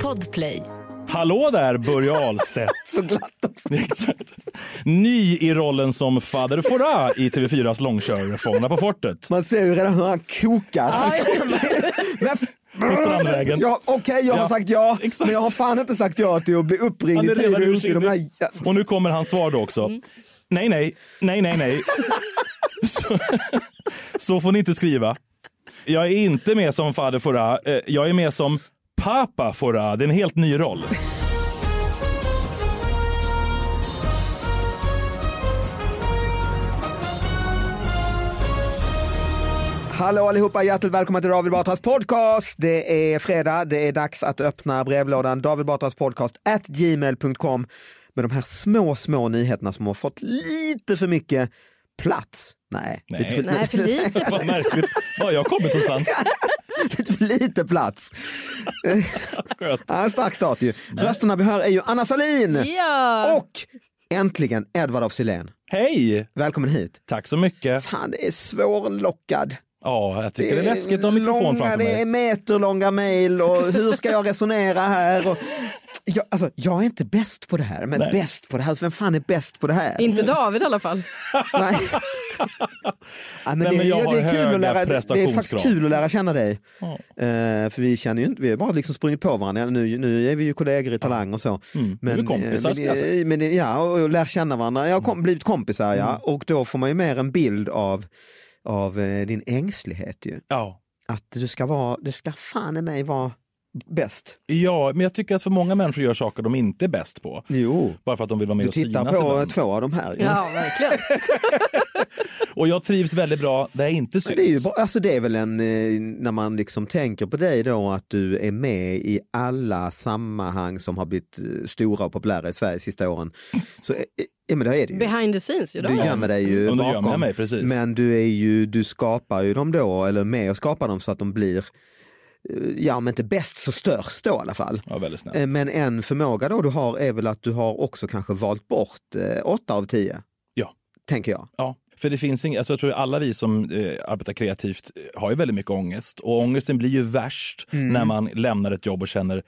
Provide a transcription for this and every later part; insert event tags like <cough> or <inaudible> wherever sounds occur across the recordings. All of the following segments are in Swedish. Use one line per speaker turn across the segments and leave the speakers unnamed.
Podplay.
Hallå där,
<laughs>
Börje Ahlstedt.
Så glatt också.
Exakt. Ny i rollen som fader Fora i TV4s långkörare Fångarna på fortet.
Man ser ju redan hur han kokar.
På Strandvägen.
Ja, Okej, jag har
Ja,
sagt ja,
exakt.
men jag har fan inte sagt ja till att bli
Han
uppringd
är
i tid och
redan
inte i de Mm. där... Ja,
Och nu kommer hans svar då också. Nej, nej, nej, nej,
<laughs>
nej. Så, så får ni inte skriva. Jag är inte med som fader Fora. eh, Jag är med som Papa Fora. Det är en helt ny
<laughs>
roll.
Hallå allihopa, hjärtligt välkomna till David Batras podcast. Det är fredag, det är dags att öppna brevlådan David Batras podcast at gmail.com med de här små, små nyheterna som har fått lite för mycket plats. Nej,
Nej.
<laughs> lite
Nej, för lite.
Vad märkligt. Var har jag kommit
<laughs>
någonstans?
lite för lite plats.
Skönt.
Ja, en stark start ju. Rösterna vi hör är ju Anna Salin
Ja!
och äntligen Edvard af Sillén.
Hej!
Välkommen hit.
Tack så mycket.
Fan, det är svårlockad.
Ja, jag tycker det är läskigt att ha mikrofon
långa,
framför
Det är
mig.
meterlånga mejl
<laughs>
och hur ska jag resonera här? Och, jag, alltså, jag är inte bäst på det här, men
Nej.
bäst på det här, vem fan är bäst på det här?
Inte David i alla fall.
Nej. <laughs> Ja, men
Nej,
det,
men jag
är-
har
det, är kul
höga
att lära, det är faktiskt
prestationskrav.
kul att lära känna dig.
Ja.
Eh, för vi känner ju inte, vi har bara liksom sprungit på varandra. Nu, nu är vi ju kollegor i Talang och så.
Mm, nu är vi kompisar,
eh,
ska jag säga. Mm.
men, men, ja, och, och lär känna varandra. Jag har kom, blivit kompisar ja, och då får man ju mer en bild av, av eh, din ängslighet ju.
Ja.
Att du ska vara, du ska fan i mig vara bäst.
ja, men jag tycker att för många människor gör saker de inte är bäst på.
Jo,
Bara för att de vill vara med
du
och synas.
tittar på
ibland.
två av de här. ju.
Ja, verkligen.
Och jag trivs väldigt bra där jag inte syns.
Men Det är, ju bara, alltså det är väl en, eh, när man liksom tänker på dig då att du är med i alla sammanhang som har blivit eh, stora och populära i Sverige de sista åren. Så eh, eh, ja, men det är det ju.
Behind the scenes ju. Då.
Du gömmer dig ju
Ja, nu gömmer jag
bakom.
mig, precis.
men du, är ju, du skapar ju dem då, eller är med och skapar dem så att de blir, eh, ja om inte bäst så störst då i alla fall.
Ja, väldigt snällt.
Eh, Men en förmåga då du har är väl att du har också kanske valt bort eh, åtta av tio.
Ja.
Tänker jag.
Ja, för det finns inget, alltså jag tror alla vi som eh, arbetar kreativt eh, har ju väldigt mycket ångest och ångesten blir ju värst
Mm.
när man lämnar ett jobb och känner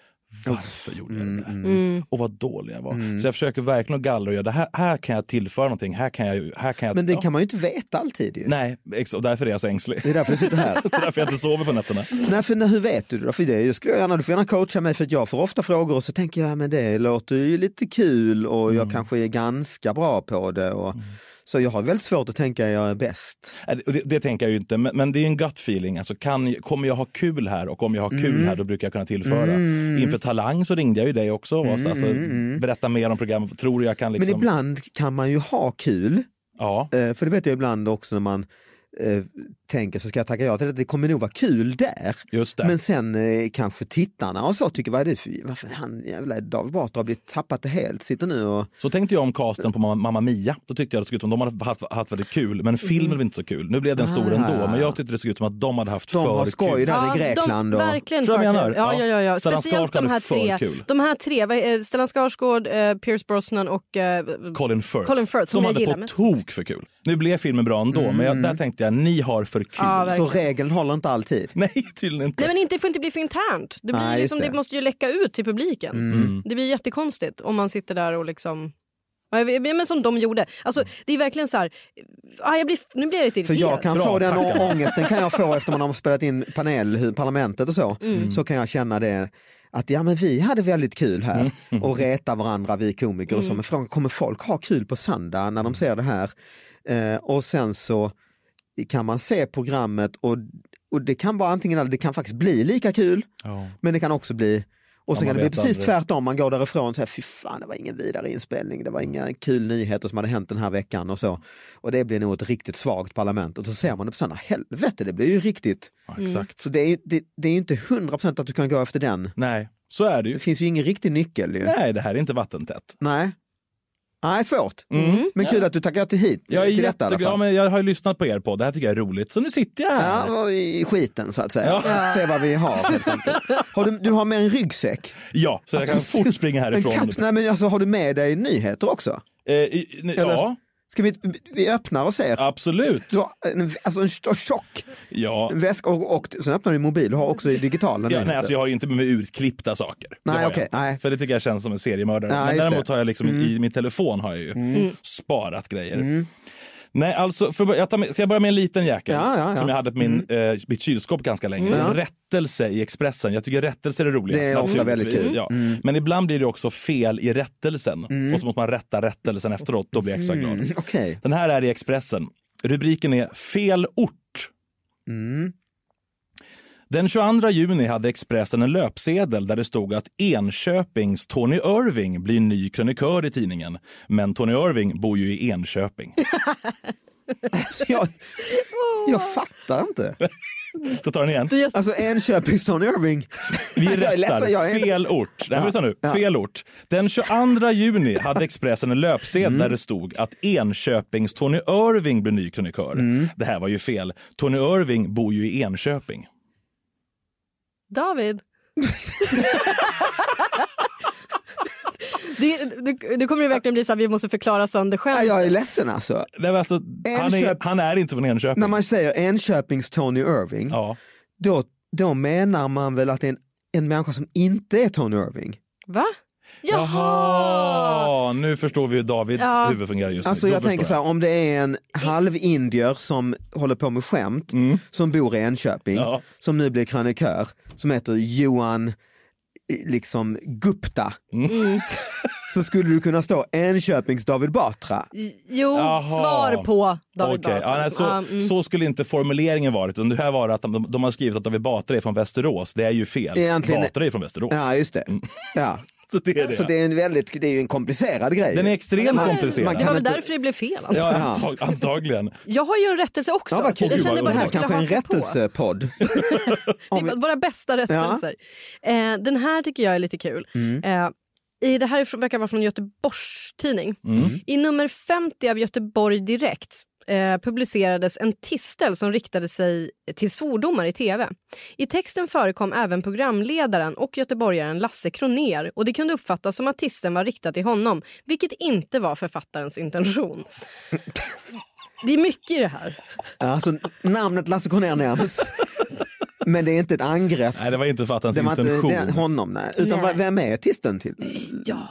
varför gjorde jag det där?
mm.
Mm. Och vad dålig jag var. Så jag försöker verkligen att gallra och göra det här, här kan jag tillföra någonting, här kan jag... ju- Här kan jag
Men det
ja.
kan man ju inte veta alltid ju.
Nej, ex- och därför är jag så ängslig.
Det är därför du sitter här.
Det är <laughs> därför jag inte sover på nätterna.
Nej, för, nej, hur vet du det då? För det jag skulle jag gärna, du får gärna coacha mig för att jag får ofta frågor och så tänker jag, men det låter ju lite kul och
Mm.
jag kanske är ganska bra på det. Och, Så jag har väldigt svårt att tänka att jag är bäst.
Nej, Äh, Det, det, det tänker jag ju inte, men, men det är ju en gut feeling. Alltså, kan, kommer jag ha kul här? Och om jag har
Mm.
kul här, då brukar jag kunna tillföra. Inför Talang så ringde jag ju dig också. Mm. Alltså, berätta mer om programmet. Tror du jag kan liksom...
Men ibland kan man ju ha kul,
Ja.
eh, för det vet jag ibland också när man eh, tänker så ska jag tacka ja till det. Det kommer nog vara kul där.
Just det.
Men sen eh, kanske tittarna och så tycker, vad är det för, varför han jävla David Batra har blivit tappat det helt, sitter nu och...
Så tänkte jag om casten på Mamma, Mamma Mia. Då tyckte jag det såg ut som de hade haft, haft väldigt kul,
Mm.
men filmen var inte så kul. Nu blev den stor ändå,
Ah.
men jag tyckte det såg ut som att de hade haft
De
för
har skoj
kul.
där
Ja,
i Grekland.
De,
och...
verkligen
Tror jag
för
menar.
kul. Ja,
Ja.
ja, ja, ja.
Stellan
Speciellt
Skarsgård
de här
är
tre.
för kul.
De här tre, vad- eh, Stellan Skarsgård, eh, Pierce Brosnan och... eh,
Colin Firth.
Colin Firth, som
de
jag
hade
gillar
på
mest.
tok för kul. Nu blev filmen bra ändå, men jag, där tänkte jag, ni har för kul.
Ja, verkligen.
Så regeln håller inte alltid.
<laughs> Nej, tydligen inte.
Nej men inte, det får inte bli för internt. Det, blir
Nej,
ju
just
liksom, det.
det. Mm.
måste ju läcka ut till publiken.
Mm.
Det blir jättekonstigt om man sitter där och liksom... Ja, jag vet- men som de gjorde. Alltså, det är verkligen så här... Ja, jag blir, nu blir jag lite
För
irriterad.
jag kan
Bra,
få den
tackar.
ångesten kan jag få efter man har spelat in panel, hur- parlamentet och så. Så kan jag känna det att ja men vi hade väldigt kul här
Mm.
och reta varandra vi komiker och så. Men frågan kommer folk ha kul på söndag när de ser det här? Eh, och sen så kan man se programmet och, och det kan vara antingen eller, det kan faktiskt bli lika kul
Ja.
men det kan också bli och sen
Ja, man
kan det bli
vet
precis
aldrig.
tvärtom, man går därifrån och säger fy fan det var ingen vidare inspelning, det var inga kul nyheter som hade hänt den här veckan och så. Och det blir nog ett riktigt svagt parlament och så ser man det på söndag, helvete det blir ju riktigt.
Ja, exakt.
Så det är, det, det är ju inte 100% att du kan gå efter den.
Nej, så är det ju.
Det finns ju ingen riktig nyckel ju.
Nej, det här är inte vattentätt.
Nej. Nej, svårt.
Mm.
Men kul att du tackar till hit.
Jag är
till detta, i alla
jätteglad,
fall.
men jag har ju lyssnat på er på det här tycker jag är roligt, så nu sitter jag här.
Ja, och i skiten så att säga.
Ja.
Se vad vi har. helt enkelt. har du, du har med en ryggsäck.
Ja, så jag kan
Alltså,
fort springa härifrån.
En kaps, nej, men alltså, har du med dig nyheter också?
Eh, i- nu- ja,
Ska vi, vi öppnar och ser.
absolut.
Du har en, alltså en st- tjock
Ja.
väska och, och sen öppnar du din mobil och har också i digitala
Ja, nej,
nyheter.
alltså jag har ju inte med utklippta saker. Det
Nej,
har jag
okej,
inte.
nej.
För det tycker jag känns som en seriemördare.
Ja,
Men
just
däremot
det. Mm.
har jag liksom i min telefon har jag ju sparat grejer. Nej, alltså, för, jag tar med, ska jag börja med en liten jäkel
Ja, ja, Mm. ja.
som jag hade på min, eh, mitt kylskåp ganska länge. Rättelse i Expressen. Jag tycker rättelse är det roliga.
Det är ofta
naturligtvis.
väldigt kul. Mm.
Ja. Men ibland blir det också fel i rättelsen och så måste man rätta rättelsen efteråt. Då blir jag extra
Mm. <laughs>
glad.
Okej,
Den här är i Expressen. Rubriken är Fel ort. Den 22 juni hade Expressen en löpsedel där det stod att Enköpings Tony Irving blir ny krönikör i tidningen. Men Tony Irving bor ju i
<laughs>
Enköping.
alltså, jag, jag fattar inte.
Så tar den igen.
Alltså Enköpings Tony Irving.
Vi
Jag är
rättar.
ledsen, jag är-
Fel ort. Nej, men vänta nu. Fel ort. Den 22 juni hade Expressen en löpsedel där
Mm.
det stod att Enköpings Tony Irving blir ny krönikör.
Mm.
Det här var ju fel. Tony Irving bor ju i Enköping.
<laughs>
David. det, du, du kommer ju verkligen bli så här, vi måste förklara sönder
Ja,
själv.
Jag är ledsen alltså.
Nej, men alltså, han, är,
Enköp-
han är inte från Enköping.
När man säger Enköpings Tony Irving,
Ja.
då, då menar man väl att det är en, en människa som inte är Tony Irving.
Va? Jaha!
Jaha! Nu förstår vi hur Davids
Ja.
huvud fungerar just nu.
Alltså
Då
jag
förstår
tänker så här, om det är en halvindier som håller på med skämt, som bor i Enköping,
Mm. Ja.
som nu blir krönikör, som heter Johan eh, liksom Gupta.
Mm.
Mm.
<laughs> Så skulle du kunna stå Enköpings David Batra.
Jo,
Jaha.
svar på David
Okej,
Batra.
ja, nej, så,
Ja, mm.
så skulle inte formuleringen varit. Utan Det här var att de, de har skrivit att David Batra är från Västerås. Det är ju fel.
Egentligen-
Batra är från Västerås.
Ja just det. Ja.
Så Mm. det är det.
Så det är, en väldigt, det är ju en komplicerad grej.
Den är extremt
Men-
komplicerad.
Det var
kan
väl
inte-
därför det blev fel. antar jag.
Ja, antag, antagligen.
Jag har ju en rättelse också.
Ja, vad kul.
Jag
Oj,
känner
vad
bara
det
att
här
jag skulle
kanske är
haka
en
på.
rättelsepodd.
Det är våra bästa rättelser. Eh, den här tycker jag är lite kul. Eh, i, det här är från- verkar vara från Göteborgs tidning. I nummer 50 av Göteborg Direkt eh, publicerades en tistel som riktade sig till svordomar i tv. I texten förekom även programledaren och göteborgaren Lasse Kroner och det kunde uppfattas som att tisteln var riktad till honom, vilket inte var författarens intention. Det är mycket i det här.
Alltså namnet Lasse
<laughs>
Kronér nämns. Men det är inte ett angrepp.
Nej, det var inte fattarens
Det var inte
Alltså, intention.
det, honom, nej. Utan
Nej.
vem är tisten till?
Ja.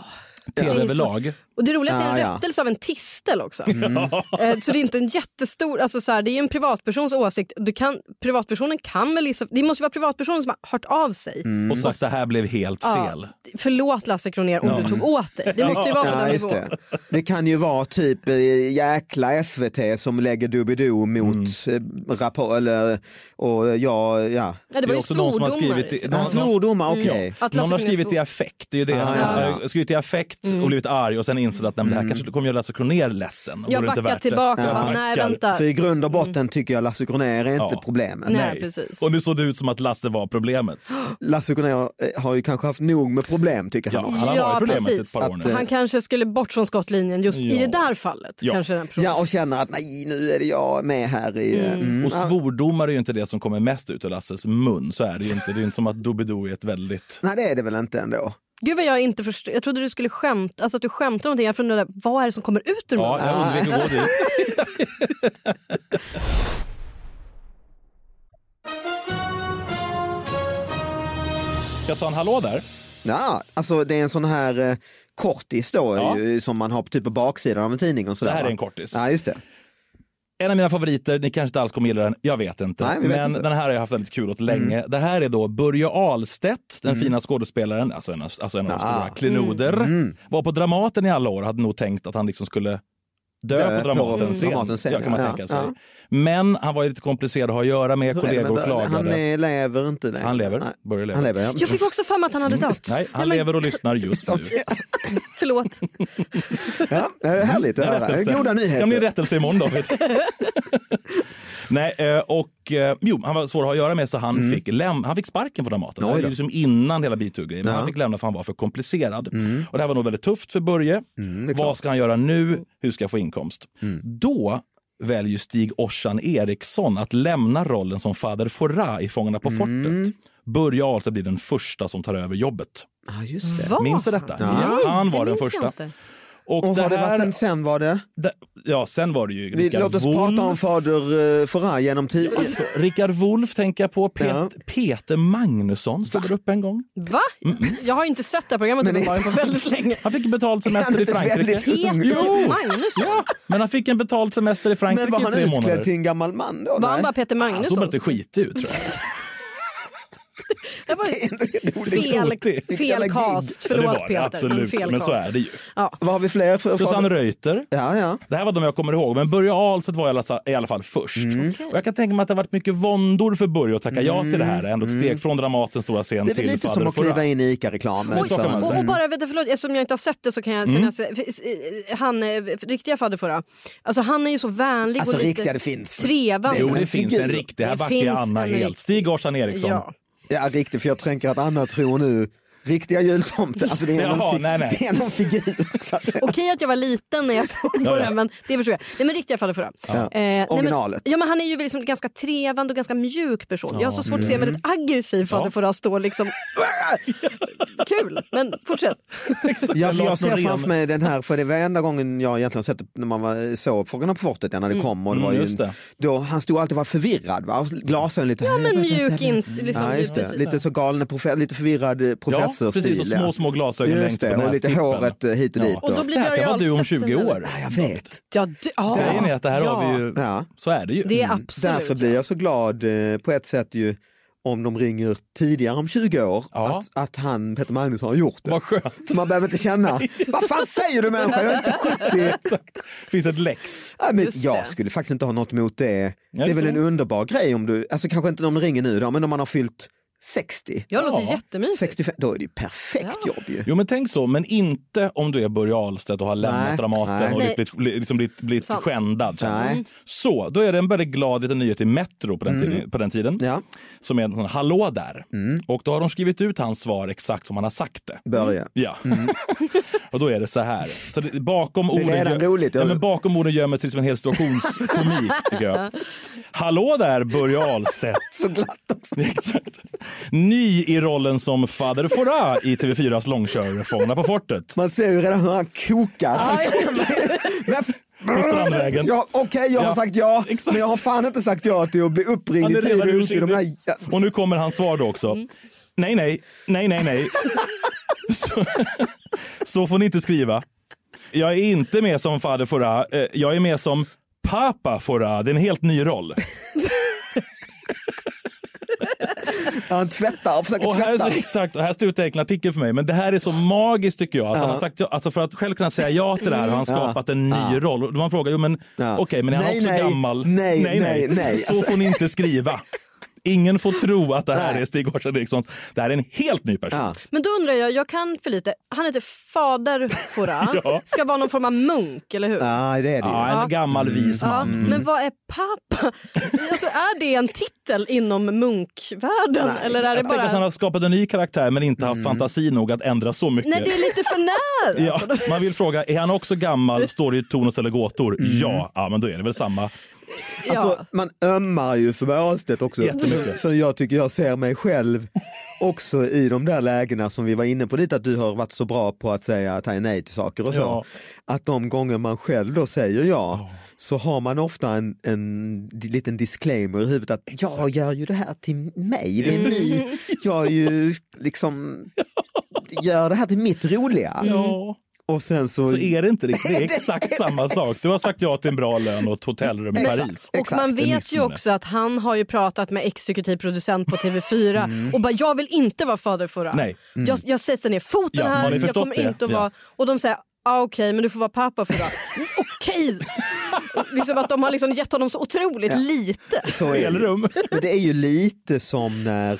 Tv överlag.
Och det roliga är att det är en
Ah, ja. Mm.
rättelse av en tistel också. <laughs> Eh, Så det är inte en jättestor, alltså så här, det är ju en privatpersons åsikt. Du kan, privatpersonen kan väl, liksom, det måste vara privatpersonen som har hört av sig.
Mm.
Och så att det här blev helt fel.
Förlåt Lasse Kronér om du tog åt dig. Det måste ju vara på
Ja,
den
just
nivån.
det. det kan ju vara typ eh, jäkla SVT som lägger Doobidoo mot mm. rapport eller och eh, ja, ja.
Ja, det var Alltså, mm. ju
också någon som har
svordomar.
skrivit... i-
ja,
någon- någon-
svordomar, okej.
Att Lasse
Någon har
Kronér
skrivit
svor.
i affekt. Det är ju det.
Ah, ja, Mm. ja.
Mm.
Han har skrivit i affekt och blivit arg och sen insåg att nej, men det här kanske kommer jag Lasse Kronér ledsen. Vore
Jag
det inte
backar
värt det?
tillbaka.
Jag
va? Nej,
backar.
vänta.
För i grund och botten tycker jag Lasse Kronér är inte
Ja.
problemet.
alltså, mm. Nej, precis.
Och nu såg det ut som att Lasse var problemet.
Lasse Kronér eh, har ju kanske haft nog med problem tycker
Ja,
han. också.
han har
Ja,
varit problemet
precis.
ett par år
Att,
nu.
eh,
Han kanske skulle bort från skottlinjen just i
Ja.
det där fallet.
Ja.
Kanske den pro-
Ja, och känner att nej, nu är det jag med här i... eh, Mm.
Och svordomar är ju inte det som kommer mest ut ur Lasses mun. Så är det ju inte. Det är ju inte som att Doobidoo är ett väldigt...
Nej, det är det väl inte ändå.
Gud vad jag inte förstår. Jag trodde du skulle skämta. Alltså att du skämtade om någonting. Jag funderade, vad är det som kommer ut ur
Ja,
munnen?
Ah.
jag undvek att gå dit. <laughs> Ska jag ta en hallå där?
Ja, alltså det är en sån här eh, kortis då
Ja.
ju, som man har på typ på baksidan av en tidning och sådär.
Det här är
va?
en kortis.
Ja, just det.
En av mina favoriter, ni kanske inte alls kommer gilla den, jag vet inte.
Nej, vi vet
men
inte. Mm.
den här har jag haft väldigt kul åt länge. Det här är då Börje Ahlstedt, den fina skådespelaren, alltså en, av- alltså en av de
Ah.
stora klenoder.
Mm.
Var på Dramaten i alla år och hade nog tänkt att han liksom skulle dö
Dö
på
på
Dramatens scen.
Dramatens scen,
ja, kan man
ja.
tänka sig.
Ja.
Men han var ju lite komplicerad att ha att göra med,
Hur är det
kollegor
med Börje?
klagade.
Han är, lever inte längre.
Han lever,
Nej.
Börje lever.
Han lever, ja.
Jag fick också för mig att han hade dött.
Mm. Nej, han
men- <laughs>
lever och lyssnar just
<laughs>
nu.
Förlåt.
ja, det är härligt att
Rättelse.
höra. Goda nyheter.
Kan bli rättelse imorgon David.
<laughs>
Nej, eh, och eh, jo, han var svår att ha att göra med så han, fick, läm- han fick sparken från Dramaten. Det här
Mm. Oj
är
då.
ju liksom innan hela bituggrejen. Men Han fick lämna för han var för komplicerad.
Mm.
Och det här var nog väldigt tufft för Börje. Vad ska han göra nu? Hur ska jag få inkomst?
Mm.
Då väljer Stig Orsan Eriksson att lämna rollen som fader Fouras i Fångarna
Mm.
på fortet. Börje Ahlstedt blir den första som tar över jobbet.
Ja, just det.
Va?
Minns du detta?
Nej,
han var
det
den
minns jag
första.
inte.
Och har det varit en, sen var det?
Da- Ja, sen var det ju
Vi,
Rickard
låt oss
Wolff.
prata om fader uh, Farah genom tiden.
Alltså, Rickard Wolff tänker jag på. Pet-
Ja.
Peter Magnusson stod där uppe en gång.
Va? Jag har ju inte sett det här programmet
Men det-
uppenbarligen på väldigt länge.
Han fick betald semester
Han
i
är
Frankrike.
väldigt ung.
Peter Magnusson?
Ja, men han fick en betald semester i Frankrike
Men var han
i tre månader.
utklädd till en gammal man då?
Var
Nej.
han bara Peter
Han såg bara
Magnusson?
lite skitig ut tror jag. <laughs>
Det var ju
liksom sotigt.
fel,
Vilken jävla
fel
gig.
cast.
Ja, det var
Förlåt
det,
Peter.
Absolut,
fel
men så
cast.
är det ju.
Vad har vi fler för
Susanne
fader?
Reuter.
Ja, ja.
Det här var de jag kommer ihåg, men Börje Ahlstedt var i alla, sa- i alla fall först.
Mm.
Och jag kan tänka mig att det har varit mycket våndor för Börje att tacka ja till det här. Ändå ett steg från Dramatens stora scen
Mm. Det är väl
till
lite
Fader
som att
Fouras.
kliva in i ICA-reklamen.
Oj, så kan man
Och,
säga.
och bara, vänta, förlåt, eftersom jag inte har sett det så kan jag mm. säga, för- eh, han eh, riktiga faderfurra, alltså han är ju så vänlig
Alltså
och lite
riktiga, det finns.
trevande.
Jo,
Men
det finns en
figur.
riktig. Här
Det
backar jag
finns
Anna liksom.
en
helt.
riktig.
Stig Orsan Eriksson.
Ja.
Ja, riktigt, för jag tänker att Anna tror nu riktiga jultomten. Alltså, det, är någon
Jaha,
fig-
nej, nej.
det är någon
<laughs>
figur. Så att,
Okej att jag var liten när jag såg på
Ja, ja.
den, men det förstår jag. Nej, men riktiga faderfurra. Eh, nej, men-
Originalet.
Ja, men han är ju liksom ganska trevande och ganska mjuk person. Jag har så svårt att se
Mm.
en väldigt aggressiv faderfurra stå
<laughs>
liksom... Kul, men fortsätt.
Ja, för
Lars
jag ser
Norén.
framför mig den här, för det var enda gången jag egentligen har sett det när man var, såg Fåglarna på fortet, ja, när det kom. Och det var
Mm,
ju,
just det.
Då, han stod alltid och var förvirrad, va? Och glasögon lite... Ja,
Men mjuk inst... Liksom,
just det.
precis.
Lite så galne, profe- lite förvirrad eh,
Ja,
professorstil.
precis. Och små, små glasögon
Just
längst
det,
på
och lite
nästippen.
håret eh, hit och dit.
Och då blir
det här
Börje
kan vara du om
Ahlstedt
20 år.
väldigt-
Ja, jag vet.
Ja, det, ja.
Grejen är att det här
ja.
har vi ju,
Ja.
så är det ju. Mm.
Det är absolut.
Därför blir jag så glad eh, på ett sätt ju om de ringer tidigare om 20 år
Ja.
att, att han, Peter Magnus, har gjort det.
<laughs>
Vad skönt.
Så man behöver inte
<laughs>
känna, vad fan säger du människa, jag är inte 70.
Det finns ett lex.
Ja, men
Just
jag
det.
skulle faktiskt inte ha något emot det.
Ja,
det är väl
så.
en underbar grej om du, alltså kanske inte om de ringer nu då, men om man har fyllt 60,
Jag låter
Ja.
jättemysigt.
65, då är det ju perfekt jobb ju.
Jo men tänk så, men inte om du är Börje Ahlstedt och har lämnat
Nej,
Dramaten
nej.
och
Nej.
blivit, bli- liksom blivit, blivit
Sant.
skändad.
Nej. Mm.
Så, då är det en väldigt glad liten nyhet i Metro på den, tiden, på den tiden.
Ja. Mm.
Som är en sån hallå där. Och då har de skrivit ut hans svar exakt som han har sagt det.
Börja.
Ja.
Mm.
och då är det så här. Så det, bakom, orden
redan
gö-
roligt,
ja,
eller?
men bakom orden gömmer sig liksom en hel
<laughs>
situationskomik tycker jag. Hallå där Börje Ahlstedt.
Så glatt
<laughs>
också.
Exakt. Ny i rollen som fader Fouras i TV4s långkörare Fångarna på fortet.
Man ser ju redan hur han kokar. <laughs>
På Strandvägen.
Ja, Okej, jag
Ja,
har sagt ja,
exakt.
men jag har fan inte sagt ja till att bli
Han
uppringd
är
i tid
redan
och otid. i
ursinnig.
De här...
Och nu kommer hans svar då också.
Mm.
Nej, nej, nej, nej,
<laughs>
nej. så, så får ni inte skriva. Jag är inte med som fader Fouras. Eh, Jag är med som Papa Fouras. Det är en helt ny roll.
Han tvättar, han försöker
Och här,
tvätta.
exakt, och här står det en artikel för mig. Men det här är så magiskt tycker jag. Att han har sagt, ja- alltså för att själv kunna säga ja till det här har han skapat en ny roll. Och man frågar, jo men
Ja.
okej, men är han
Nej,
också
nej.
gammal?
Nej, nej, nej.
Så
Alltså-
får ni inte skriva. Ingen får tro att det här är Stig Hårdsen Erikssons. Det här är en helt ny person.
Ja.
Men då undrar jag, jag kan för lite. Han heter Fader Fora.
<laughs> Ja.
Ska vara någon form av munk, eller hur?
Nej, det är det ju.
Ja, en gammal vis
Ja,
man.
Men vad är pappa? <laughs> Alltså, är det en titel inom munkvärlden? eller är det
Jag tänker att han
bara...
har skapat en ny karaktär men inte
Mm.
haft fantasi nog att ändra så mycket.
Nej, det är lite för nära.
<laughs> Ja, man vill fråga, är han också gammal? Står det i Torn och ställer gåtor?
Mm.
Ja. ja, men då är det väl samma.
Mm.
Alltså, man ömmar ju för Ahlstedt också.
Jättemycket.
För jag tycker jag ser mig själv också i de där lägena som vi var inne på lite, att du har varit så bra på att säga ta nej till saker och så.
Ja.
Att de gånger man själv då säger ja, så har man ofta en, en di- liten disclaimer i huvudet att jag gör ju det här till mig, det är ni, jag är ju liksom gör det här till mitt roliga.
Mm.
Ja.
Och sen så,
Så är det inte
<laughs>
riktigt. Det är
Det är
exakt samma sak. Du har sagt ja till en bra lön och ett hotellrum i Paris.
Och man
Det
vet ju
missminner.
också att han har ju pratat med exekutiv producent på TV4 och bara jag vill inte vara fader förra.
Mm. Nej. Mm.
Jag, jag sätter ner foten
Ja, har
här,
ni
jag
förstått
kommer
det?
inte att
Ja.
vara... Och de säger ah, okej men du får vara pappa förra. <laughs> Mm, okej! liksom att de har liksom gett honom så otroligt lite.
så är det.
Elrum.
det är ju lite som när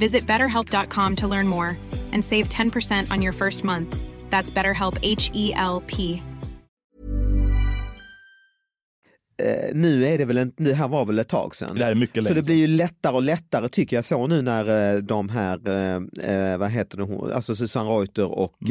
Visit betterhelp.com to learn more and save 10% on your first month. That's BetterHelp H E L P.
eh, nu är det väl en, nu, här var väl ett tag sedan.
Det här är mycket
så
längre
det blir ju lättare och lättare tycker jag så nu när eh, de här, eh, eh, vad heter det, hon, alltså Susanne Reuter och eh,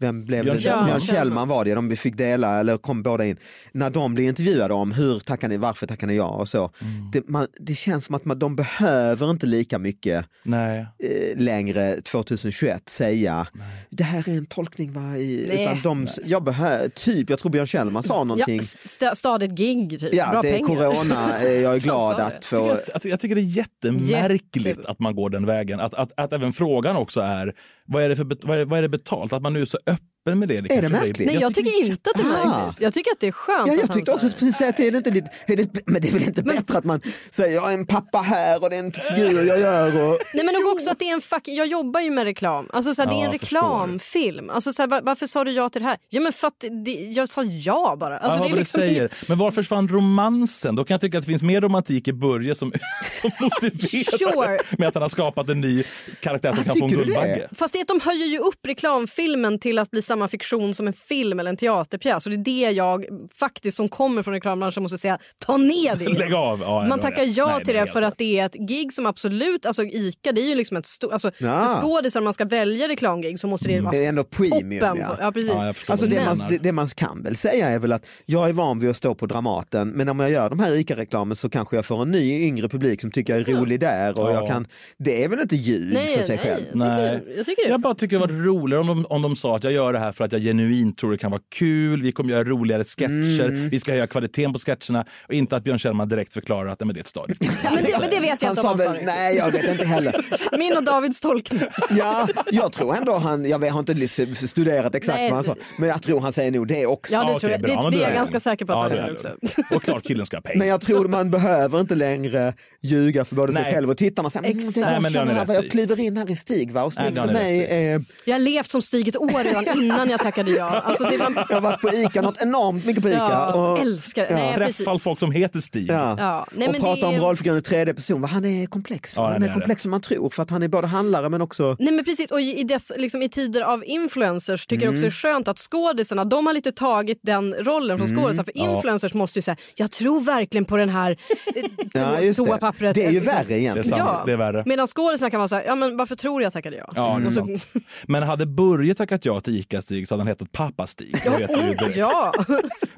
Vem blev
Mm. Björn
det?
Kjellman.
Björn Kjellman var det, de fick dela, eller kom båda in. När de blev intervjuade om hur tackar ni, varför tackar ni ja och så.
Mm.
Det, man, det känns som att man, de behöver inte lika mycket
Nej.
eh, längre 2021 säga det här är en tolkning va? I,
Nej.
utan de, jag behöver, typ, jag tror Början Kjellman sa
Ja,
någonting.
st- stadigt gig, typ.
Ja,
bra
det är
pengar.
corona. eh, Jag är glad
Han sa det.
att
Jag
få...
tycker, att, jag tycker det är jättemärkligt
Jätte-
att man går den vägen. Att, att, att även frågan också är vad är, det för, bet- vad, är, vad är det betalt? Att man nu är så öppen med det. liksom, det
Är det
kanske
märkligt?
Nej, jag, tycker inte att det är
Ah.
märkligt. Jag tycker att det är skönt
Ja,
att
jag
han
tyckte
så
också
här-
precis att det är inte lite, är det, men det är väl inte bättre att man säger jag är en pappa här och det är en figur jag gör. Och,
Nej men och också att det är en fuck, jag jobbar ju med reklam. Alltså så här, det
Ja,
är en
jag förstår.
reklamfilm. Alltså så här, va- varför sa du ja till det här? Ja men för att det, jag sa ja bara. Alltså,
Alltså,
det är liksom-
säger. Men var försvann romansen? Då kan jag tycka att det finns mer romantik i Börje som, <laughs> som motiverar
Sure.
med att han har skapat en ny karaktär som
Ah,
kan få en
tycker du det?
Guldbagge.
Fast det är att de höjer ju upp reklamfilmen till att bli samma fiktion som en film eller en teaterpjäs. Och det är det jag faktiskt som kommer från reklambranschen måste säga, ta ner det.
<laughs> Lägg av! Ja,
Man
det var
tackar
rätt.
ja
Nej,
till det
är
för
helt
att det är ett gig som absolut, alltså Ica det är ju liksom ett stort, alltså
Ja.
för skådisar man ska välja reklamgig så måste det vara
Det är ändå premium,
toppen
ja.
på- Ja, precis.
Ja, jag förstår
Alltså
vad du
det,
menar.
man, det, det man kan väl säga är väl att jag är van vid att stå på Dramaten men om jag gör de här ICA-reklamen så kanske jag får en ny yngre publik som tycker jag är rolig där och
Ja.
jag kan, det är väl inte ljug
Nej,
för sig
nej.
själv.
Jag tycker-
Nej.
jag tycker det.
jag bara tycker det var roligare om de, om de sa att jag gör det här för att jag genuint tror det kan vara kul, vi kommer göra roligare sketcher,
Mm.
vi ska höja kvaliteten på sketcherna och inte att Björn Kjellman direkt förklarar att nej, men det är ett stadigt
Ja, men, det, men det vet jag
Han
inte om
sa
han sa
väl,
det.
nej jag vet inte heller.
Min och Davids tolkning.
Ja, jag tror ändå han, jag vet- har inte lis- studerat exakt
Nej.
vad han sa, men jag tror han säger nog det också.
Ja, det
okej,
tror jag.
bra,
Det-
men
det är
då
jag
det.
ganska säker på att han
det
gör
är
också.
det. Och klart killen ska ha pengar.
Men jag tror man behöver inte längre ljuga för både
Nej.
sig själv och tittarna. Så, här, mm,
Exakt.
det
Nej,
där
men det har ni
känner jag,
rätt
jag
i.
kliver in här i Stig va? och Stig
Nej, det har
för
ni
mig
rätt
är...
Jag har levt som Stig ett år redan innan jag tackade ja. Alltså, det var...
Jag har varit på ICA, något enormt mycket på ICA.
Ja,
och,
älskar det.
Ja.
Nej, precis.
Träffar folk som heter Steve.
ja.
Ja, nej,
och
men
prata
det är-
om rollfiguren i tredje person. Vad Han är komplex.
Ja,
han
han
är
är
komplex som man tror för att han är både handlare men också...
Nej men precis, och i, dess, liksom, i tider av influencers tycker
Mm.
jag också det är skönt att skådisarna, de har lite tagit den rollen från
Mm.
skådisarna. För influencers måste ju säga, jag tror verkligen på den här eh,
<laughs> Ja,
to-
just det.
toapappret.
det är ju
Liksom.
värre
Det är
egentligen.
sant, det är värre.
Medan skådisarna kan vara så här, ja men varför tror jag tackade jag?
Ja, det är
Och så-
sant. Men hade Börje tackat ja till ICA-Stig så hade han hetat Pappa-Stig. Det vet vi ju direkt.
ja. <laughs>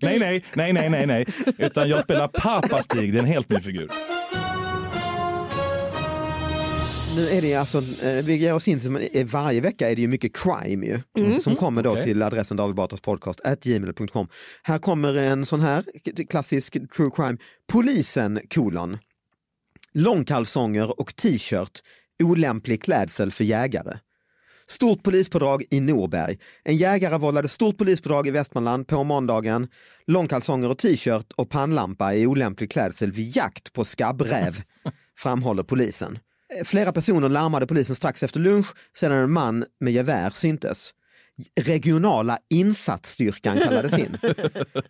Nej, nej, nej, nej, nej, nej. Utan jag spelar Pappa-Stig, det är en helt ny figur.
Nu är det alltså, eh, vi ger oss in, som- eh, varje vecka är det ju mycket crime ju,
Mm.
mm, som kommer då till adressen David Batras podcast, at gmail.com. Här kommer en sån här k- klassisk true crime, polisen kolon, långkalsonger och t-shirt, olämplig klädsel för jägare. Stort polispådrag i Norberg. En jägare vållade stort polispådrag i Västmanland på måndagen. Långkalsonger och t-shirt och pannlampa i olämplig klädsel vid jakt på skabbräv, framhåller polisen. Eh, Flera personer larmade polisen strax efter lunch sedan en man med gevär syntes. Regionala insatsstyrkan kallades in.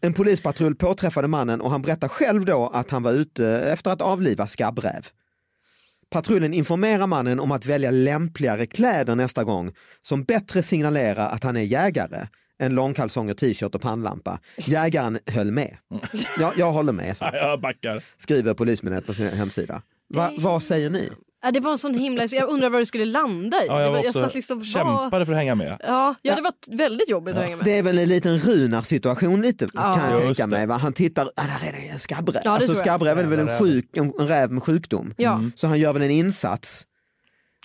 En polispatrull påträffade mannen och han berättar själv då att han var ute efter att avliva skabbräv. Patrullen informerar mannen om att välja lämpligare kläder nästa gång som bättre signalerar att han är jägare än långkalsonger, t-shirt och pannlampa. Jägaren höll med. Ja, jag håller med, så
Nej, jag backar.
skriver Polismyndigheten på sin hemsida. Va, vad säger ni?
Ja, det var en sån himla... Jag undrar vad det skulle landa i.
Ja, jag
Det var-
var också
satt liksom, vad-
kämpade för att hänga med.
Ja, ja, det var t- väldigt jobbigt att hänga med.
Det är väl en liten Runar-situation lite kan jag
Just
tänka
det.
mig. Va? Han tittar, ah, där är det en skabbräv.
Ja, det
alltså,
tror jag.
skabbräv är väl en, sjuk, en, en räv med sjukdom.
Ja.
Så han gör väl en insats.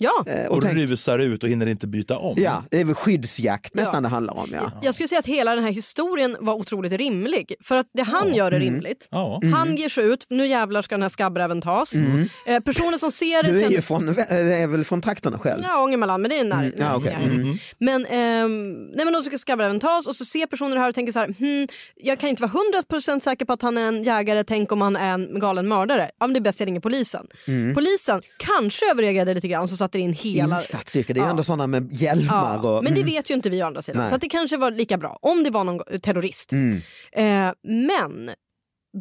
Ja.
eh,
Mm. Och,
tänk-
rusar ut och hinner inte byta om.
ja, det är väl skyddsjakt nästan det handlar om. Ja.
Jag skulle säga att hela den här historien var otroligt rimlig. För att det han gör är
Mm.
rimligt.
Ja.
Han ger sig ut, nu jävlar ska den här skabbräven tas. Eh, personer som ser det
Mm. Du är ju
känner...
från, eh, är väl från trakterna själv?
Ja, Ångermanland, men det är nära.
ja, Mm. Ah, okej.
nära. Men, ehm, nej, men då ska skabbräven tas och så ser personer det här och tänker så här, hmm, jag kan inte vara 100% säker på att han är en jägare, tänk om han är en galen mördare. Ja, men det är bäst jag ringer polisen.
Mm.
Polisen kanske överreagerade lite grann så satte in hela...
Insatsyrken, det är ju ändå sådana med hjälmar
Ja,
och...
men det vet ju inte vi å andra sidan.
Nej. Mm.
Så att det kanske var lika bra om det var någon terrorist. Eh, men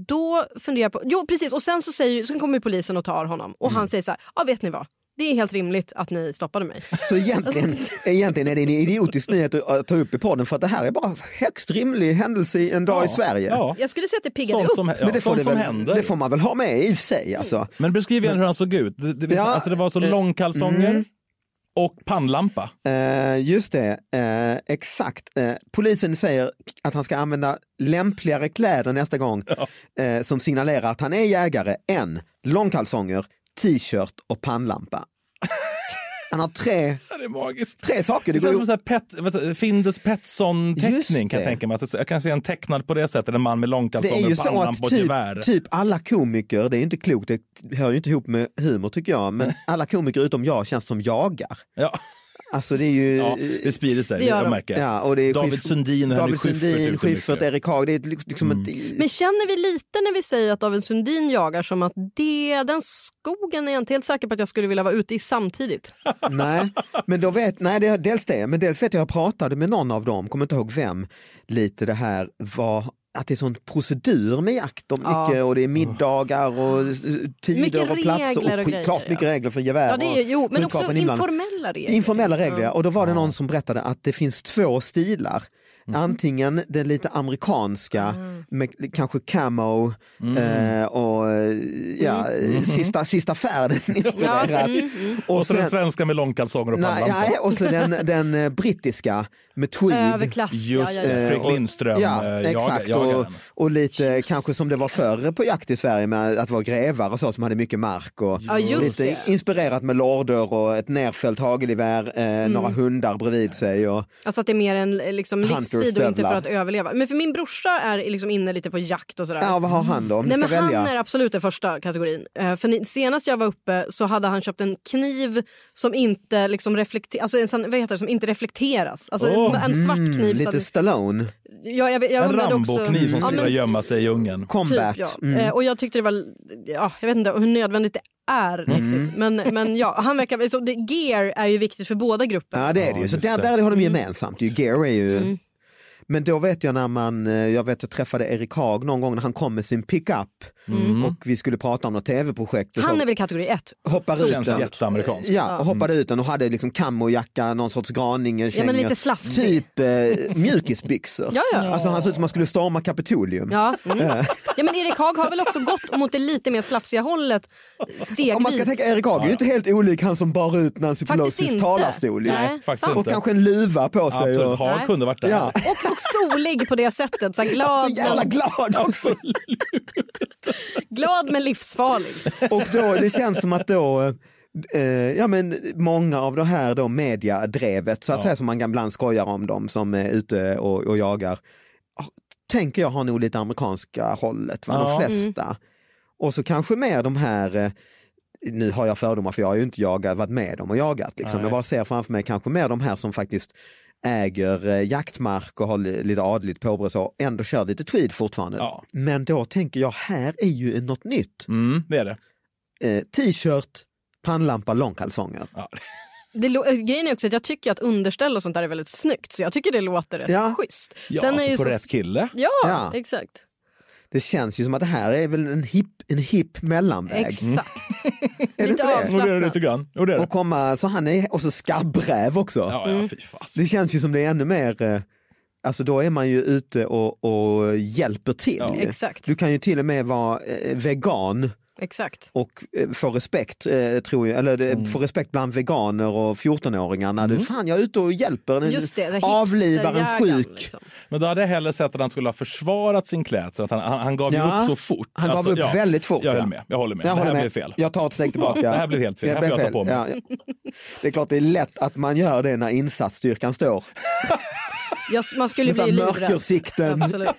då funderar jag på... Jo, precis. Och sen så, säger, sen kommer polisen och tar honom. Och
Mm.
han säger så här, ja vet ni vad? Det är helt rimligt att ni stoppade mig. Alltså,
Så egentligen, egentligen är det en idiotisk nyhet att- att ta upp i podden för att det här är bara högst rimlig händelse i en dag i Sverige.
Ja.
Jag skulle säga att det piggade
Sånt
upp.
som, ja,
Men det får,
sånt
det,
som
väl,
händer.
det får man väl ha med i och för sig.
Mm.
Alltså.
Men beskriv igen hur han såg ut. Det, det, visst,
Ja,
alltså det var så
eh,
långkalsonger och pannlampa.
Eh, just det, eh, exakt. Eh, polisen säger att han ska använda lämpligare kläder nästa gång eh, som signalerar att han är jägare än långkalsonger, t-shirt och pannlampa. Han har tre,
det är magiskt.
tre saker.
Det
går
känns
ju-
som så här pet, vad heter- Findus
Just
Pettersson-teckning kan
det.
jag tänka mig. Att jag kan se en tecknad på det sättet, en man med
Det är
långkalsonger,
ju så
pannlampa
att
och ett gevär.
typ, typ alla komiker, det är inte klokt, det hör ju inte ihop med humor tycker
<laughs>
jag, men alla komiker utom jag känns som jagar.
Ja,
Alltså det är ju...
ja, det sprider sig,
Det
det
gör de.
jag märker
Ja, och det är
David
Schiff-
Sundin och
David
Henrik Schyffert är
Sundin,
ute
Schyffert,
mycket. Mm.
Erik Haag, det är liksom ett...
Men känner vi lite när vi säger att David Sundin jagar som att det, den skogen är jag inte helt säker på att jag skulle vilja vara ute i samtidigt.
Nej, men då vet, nej det är dels det, men dels vet jag, jag pratade med någon av dem, kommer inte ihåg vem, lite det här var att det är sån procedur med jakt och
Ja.
mycket och det är middagar och eh, tider
Mycket
och platser
regler och
skit-
grejer,
klart
ja.
mycket regler för gevär
Ja, det är, ju- jo,
och
men också
skjutvapen inblandade.
informella regler.
Informella regler, ja. och då var det någon som berättade att det finns två stilar.
Mm.
Antingen den lite amerikanska med kanske camo
Mm.
eh, och eh, ja, sista, sista färden inspirerat.
mm,
Och så den svenska med långkalsonger och
nej,
pannlampa.
nej, och så den, den eh, brittiska med tweed.
Överklass.
Just
ja,
det,
ja,
Eh,
ja.
Fredrik Lindström
Ja,
eh, jagar,
exakt.
jagar
och,
den.
och lite kanske som det var förr på jakt i Sverige med att vara grevar och så som hade mycket mark och
Ja, just
lite
det.
inspirerat med lorder och ett nerfällt hagelgevär, eh,
Mm.
några hundar bredvid sig. Och,
Alltså att det är mer en eh, liksom, livsstil och inte
Hunterstövlar.
för att överleva. Men för min brorsa är liksom inne lite på jakt och sådär.
Ja, vad har han då? Om
Nej,
du
men
ska välja.
Han är absolut den första kategorin. Eh, För ni- senast jag var uppe så hade han köpt en kniv som inte liksom reflekteras, alltså en sån, vad heter det, som inte reflekteras. Alltså en- en svart kniv. så
mm, Lite
att-
Stallone.
jag, jag, jag
En
undrade också...
Rambo-kniv som
Ja,
skulle
men
vilja gömma sig i djungeln.
Combat.
Typ, ja.
Mm.
Eh, och jag tyckte det var, ja, jag vet inte hur nödvändigt det är
Mm.
riktigt. Men, men ja, han verkar, så det, gear är ju viktigt för båda grupperna.
Ja det är det ju, så
just
där,
det.
där
Mm.
har de gemensamt. ju. Gear är ju... Men då vet jag när man, eh, jag vet jag träffade Erik Haag någon gång när han kom med sin pickup och vi skulle prata om något tv-projekt. och
Mm. Han
så
är väl kategori ett.
hoppar ut
Känns
den.
jätteamerikanskt.
Ja, och hoppade ut den och hade liksom kamojacka, någon sorts graninge-känga.
Mm. Ja, men lite slafsig.
Typ eh, mjukisbyxor.
Ja, ja.
Alltså han såg ut som man skulle storma Kapitolium.
Ja. Mm. ja men Erik Haag har väl också gått mot det lite mer slafsiga hållet stegvis.
Om man ska tänka Erik Haag är ju inte helt olik han som bar ut Nancy
Faktiskt
Pelosis
inte.
talarstol. ju.
Nej,
faktiskt
sant.
Och
inte.
kanske en luva på sig.
Absolut,
och...
Haag kunde varit där.
Ja.
och, och solig på det sättet. Så här
Så
glad,
jävla glad också.
glad men livsfarlig.
Och då, det känns som att då, eh, ja men många av det här då mediadrevet, så att säga som man ibland skojar om dem som är ute och, och jagar, ah, tänker jag har nog lite amerikanska hållet, va? de
Ja.
flesta. Och så kanske mer de här eh, nu har jag fördomar för jag har ju inte jagat, varit med dem och jagat. Liksom.
Nej.
Jag bara ser framför mig kanske mer de här som faktiskt äger eh, jaktmark och har li- lite adligt påbrå och så, ändå kör lite tweed fortfarande.
Ja.
Men då tänker jag, här är ju något nytt
Mm, det är det.
eh, t-shirt, pannlampa, långkalsonger.
Det, lo- eh, grejen är också att jag tycker att underställ och sånt där är väldigt snyggt. Så jag tycker det låter rätt
Ja.
schysst.
Ja,
Sen är
alltså
ju
på
så-
rätt kille.
Ja,
Ja.
exakt.
Det känns ju som att det här är väl en hipp en hip mellanväg.
Exakt.
Är det
Lite
inte det?
avslappnat.
Jo, det är det lite grann. Jo, det är det.
Och, komma, så han är, och så skabbräv också.
Ja,
Mm.
ja, fy fasen.
Det känns ju som det är ännu mer, eh, alltså då är man ju ute och, och hjälper till.
Exakt.
Du kan ju till och med vara eh, vegan
Exakt.
och eh, få respekt, eh, tror jag, eller eh, få respekt bland veganer och 14-åringar när du, fan jag är ute och hjälper, en,
Just det, det
avlivar en
hipsterjägaren,
Mm. sjuk.
liksom.
Men då hade jag hellre sett att han skulle ha försvarat sin klädsel. Att han, han, han gav ju
Ja,
upp så fort.
han gav upp
Alltså, ja,
väldigt fort,
Jag
ja.
höll med. Jag håller med.
Jag
det
håller
här
med.
blev fel.
Jag tar ett steg
<laughs>
tillbaka.
Det här blev helt fel.
Det
Här
blev
får jag ta på mig.
Ja, ja. Det är klart det är lätt att man gör det när insatsstyrkan står.
Jag, man skulle
Med så
bli
här
livrädd.
mörkersikten. <laughs>
Absolut.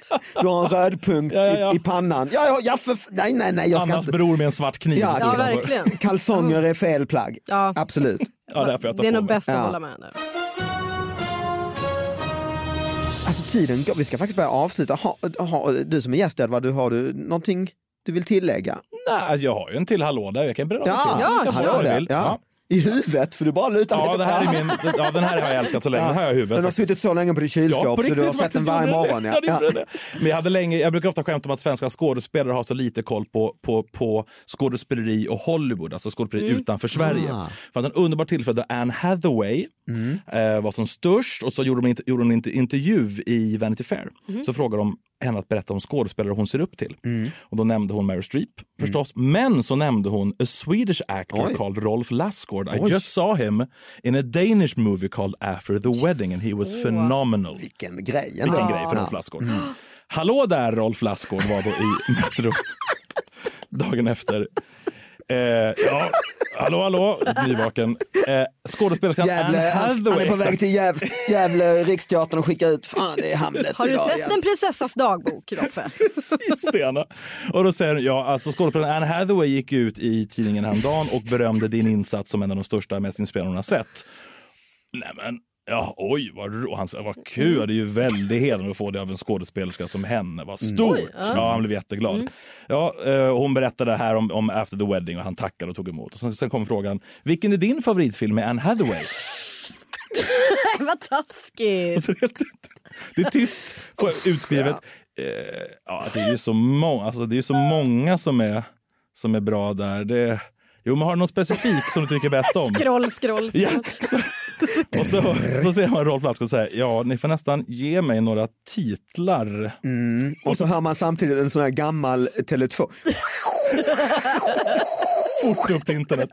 Du har en röd punkt
Ja, ja, ja.
I, i pannan. Ja, ja, ja, för, f- nej, nej, nej, jag ska
Annas
inte.
bror med en svart kniv.
Ja,
stod
Ja,
framför.
verkligen.
Kalsonger är fel plagg.
Ja.
Absolut.
Ja, det här får jag ta
Det är
på
nog
mig.
bäst att
Ja.
hålla med. Där.
Alltså tiden går. Vi ska faktiskt börja avsluta. Ha, ha, du som är gäst, Edvard, du, har du någonting du vill tillägga?
Nej, jag har ju en till hallå där. Jag kan beröra
Ja,
till.
Ja,
Jag kan
hallå
beröra
där.
till.
Ja. I huvudet, för du bara lutar
Ja,
lite.
det här är min, ja, den här har jag älskat så länge. Den här har jag i huvudet.
Den har
faktiskt.
suttit så länge på ditt kylskåp
Ja, på
så
riktigt
du har
så
sett den
faktiskt
varje
gjorde
morgon.
Det. Ja, det gjorde det. Men jag, hade länge, jag brukar ofta skämta om att svenska skådespelare har så lite koll på, på, på skådespeleri och Hollywood, alltså skådespeleri utanför Sverige. För att en underbar tillfälle då Anne Hathaway eh, var som störst och så gjorde de, inte, gjorde de en inte- intervju i Vanity Fair. Så frågade de henne att berätta om skådespelare hon ser upp till. Och då nämnde hon Meryl Streep förstås, men så nämnde hon a Swedish actor called Rolf Lassgård. I just saw him in a Danish movie called After the Wedding and he was phenomenal.
Vilken grej. ändå.
Vilken grej för Rolf Lassgård. Hallå där Rolf Lassgård var då i Metro dagen efter. Eh, ja, hallå hallå, nyvaken. Eh, skådespelerskan Anne
Gävle, han,
Hathaway.
han är på väg
exakt.
till Gäv- Gävle Riksteatern och skickar ut, fan det är
<laughs>
Hamlet
Har du
idag
sett
igen.
en prinsessas dagbok,
<laughs>
Roffe?
<laughs> Precis det, Anna. Och då säger hon, ja, alltså skådespelaren Anne Hathaway gick ut i tidningen häromdagen och berömde din insats som en av de största, mest inspirerande hon har sett. Nej men, ja, oj, vad, ro- han, sa, vad kul. Det är ju väldigt hedrande att få det av en skådespelerska som henne. Vad stort! Ja, han blev jätteglad. Ja, eh, hon berättade här om, om After the Wedding och han tackade och tog emot. Och sen, sen kom frågan, vilken är din favoritfilm med Anne Hathaway?
Nej, <laughs> vad taskigt.
Så helt- det är tyst på utskrivet. Eh, ja, det är ju så många, alltså, det är ju så många som, är, som är bra där. Det, jo, men har du någon specifik som du tycker bäst om?
Scroll, scroll.
Ja,
scroll.
exakt. och så, så ser man Rolf Lassgård säga, ja, ni får nästan ge mig några titlar.
Mm. Och så hör man samtidigt en sån här gammal
<laughs>
Tele2.
Fort upp till internet.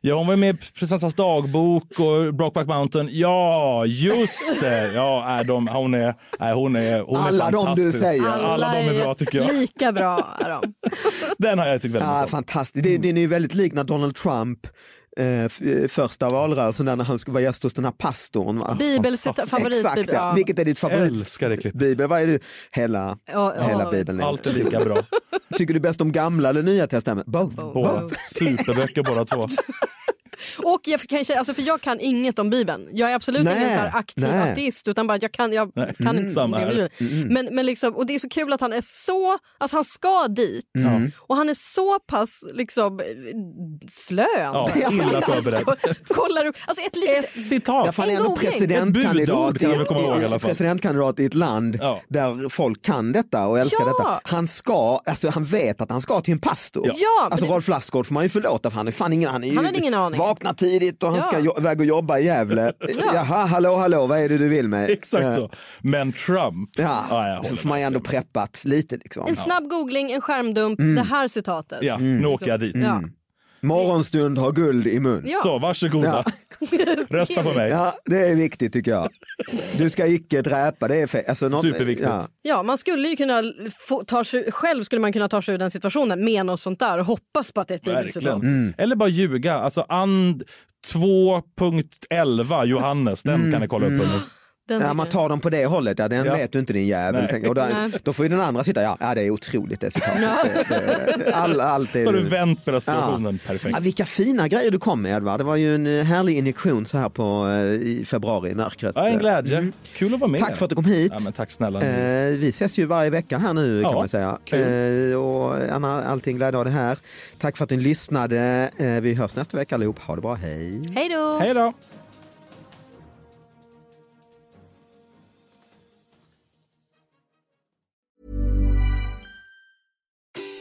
Ja, hon var ju med i Prinsessans dagbok och Brokeback Mountain. Ja, just det! Ja, äh, de, hon är, äh, hon är, hon är
Alla de du
fantastisk.
säger.
Alla, de är bra tycker jag.
Lika bra är de.
Den har jag tyckt väldigt mycket
Ah,
om.
fantastiskt, det, den är ju väldigt lik när Donald Trump eh, f- eh, första valrörelsen där när han skulle vara gäst hos den här pastorn. Va?
Bibelcit-
Exakt,
favoritbibel.
ja.
Ja.
vilket är ditt
Älskar det klippet.
favoritbibel? Vad är det? Hela,
Ja, ja,
hela
jag vet.
bibeln. är-
Allt är
<laughs>
lika bra.
Tycker du bäst om gamla eller nya testamentet? Both. <laughs>
Båda. Superböcker båda två.
Och jag kanske, alltså för jag kan inget om Bibeln. Jag är absolut
Nej,
ingen så här aktiv
nej.
ateist utan bara jag kan, jag
Nej,
kan
mm,
inte så
samma
mycket om
här.
Bibeln. Men, men liksom, och det är så kul att han är så, alltså han ska dit
Mm.
och han är så pass liksom eh, slön. <laughs> Alltså,
Ja, illa förberedd.
Kollar upp, alltså ett litet...
Ja,
Citat.
fan,
En
ändå
googling.
Ett budord
presidentkandidat,
kan
i
man komma ihåg i alla
ett,
fall.
presidentkandidat i ett land
Ja.
där folk kan detta och älskar
Ja.
detta. Han ska, alltså han vet att han ska till en pastor.
Ja.
Ja, men
alltså
det-
Rolf Lassgård får man ju förlåta för han är fan ingen, han är ju
Han hade ingen aning.
vaknar tidigt och han
Ja.
ska jo- iväg och jobba i Gävle. Jaha, hallå, hallå, vad är det du vill med? Eh,
<laughs> Exakt så. Men Trump.
Ja,
jag
så
håller
får man ju
med.
ändå preppat lite liksom.
En snabb googling, en skärmdump,
Mm.
det här citatet.
Ja,
Mm.
nu åker jag dit.
Ja.
Morgonstund har guld i mun.
Ja.
Så, varsågoda. Rösta på mig.
Ja, det är viktigt
<laughs>
tycker jag. Du ska icke dräpa, det är fel. Alltså, något-
Superviktigt.
Ja.
Ja, man skulle ju kunna få, ta sig, själv skulle man kunna ta sig ur den situationen med något sånt där och hoppas på att det är ett
Verkligen.
bibelcitat.
Eller bara ljuga. Alltså and 2.11 Johannes, den
Mm.
kan ni kolla upp. under.
Den
Ja, man tar dem på det hållet, ja, den
Ja.
vet du inte din jävel.
Nej.
tänker jag. Och
Nej.
där, då får ju den andra sitta, ja, ja det är otroligt det citatet. Det- det- All, allt är
Har du
du.
vänt på den här situationen? Perfekt.
Ja, vilka fina grejer du kom med Edvard. Det var ju en eh, härlig injektion så här på, eh, i februari i mörkret.
Ja, en glädje. Kul att vara med.
Mm. Tack för att du kom hit.
Ja, men tack snälla. ni.
Eh, vi ses ju varje vecka här nu kan
Ja,
man säga.
kul.
Eh, och Anna, allting glädje av det här. Tack för att ni lyssnade. Eh, vi hörs nästa vecka allihop. Ha det bra, hej.
Hej då!
Hej då!